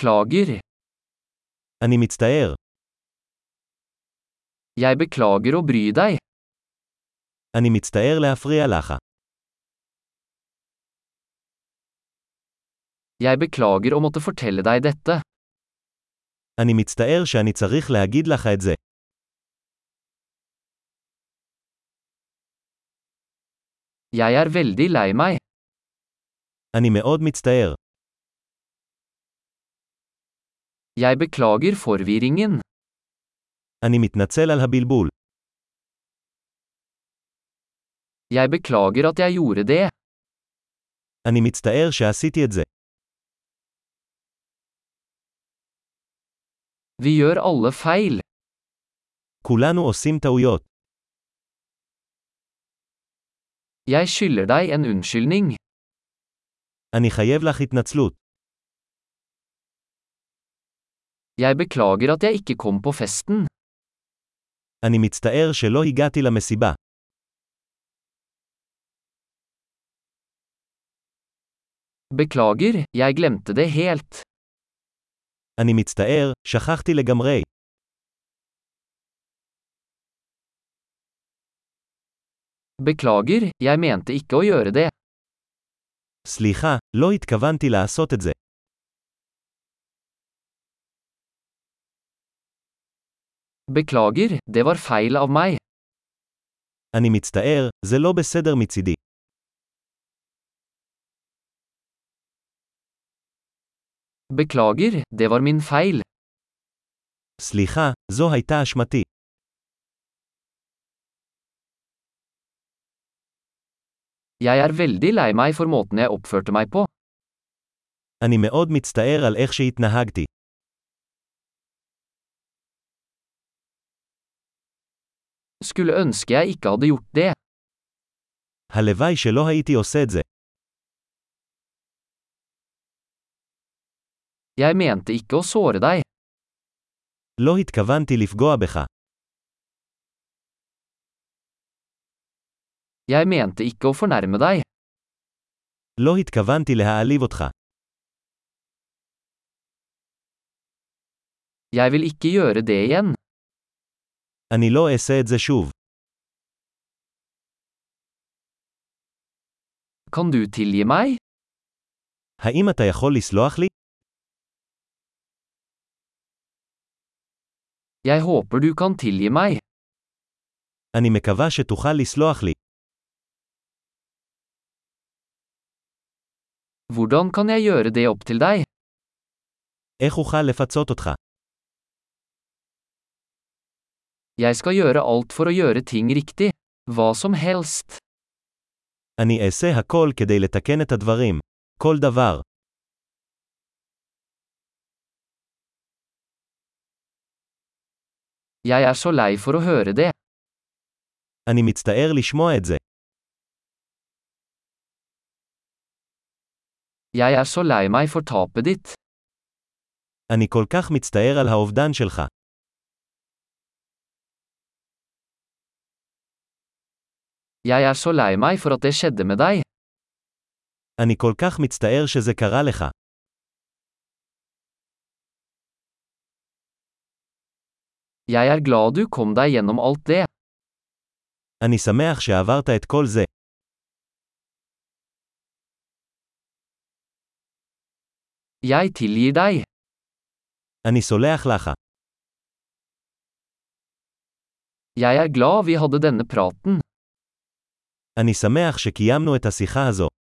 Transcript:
Beklager. אני מצטער. Jeg beklager å bry deg. אני מצטער להפריע לך. Jeg beklager å måtte fortelle deg dette. אני מצטער שאני צריך להגיד לך את זה. Jeg er veldig lei meg. אני מאוד מצטער. Jeg beklager forvirringen. אני מתנצל על הבלבול. Jeg beklager at jeg gjorde det. אני מצטער שעשיתי את זה. Vi gjør alle feil. כולנו עושים טעויות. Jeg skylder deg en unnskyldning. אני חייב לך התנצלות. Jeg beklager at jeg ikke kom på festen. אני מצטער שלא הגעתי למסיבה. Beklager, jeg glemte det helt. אני מצטער, שכחתי לגמרי. Beklager, jeg mente ikke å gjøre det. סליחה, לא התכוונתי לעשות את זה. Beklager, det var feil av meg. אני מצטער, זה לא בסדר מצידי. Beklager, det var min feil. סליחה, זו הייתה אשמתי. Jeg er veldig lei meg for måten jeg oppførte meg på. אני מאוד מצטער על איך שהתנהגתי. Skulle ønske jeg ikke hadde gjort det. הלוואי שלא הייתי עושה את זה. Jeg mente ikke å såre deg. לא התכוונתי לפגוע בך. Jeg mente ikke å fornærme deg. לא התכוונתי להעליב אותך. Jeg vil ikke gjøre det igjen. אני לא אעשה את זה שוב. Kan du tilgi meg? האם אתה יכול לסלוח לי? Jeg håper du kan tilgi meg. אני מקווה שתוכל לסלוח לי. Hvordan kan jeg gjøre det opp til deg? איך אוכל לפצות אותך? Jeg skal gjøre alt for å gjøre ting riktig. Hva som helst. אני אעשה הכל כדי לתקן את הדברים. כל דבר. Jeg er så lei for å høre det. אני מצטער לשמוע את זה. Jeg er så lei meg for tapet ditt. אני כל כך מצטער על האובדן שלך. Jeg er så lei meg for at det skjedde med deg. אני כל כך מצטער שזה קרה לך. Jeg er glad du kom deg gjennom alt det. אני שמח שעברת את כל זה. Jeg tilgir deg. אני סולח לך. Jeg er glad vi hadde denne praten. אני שמח שקיימנו את השיחה הזו.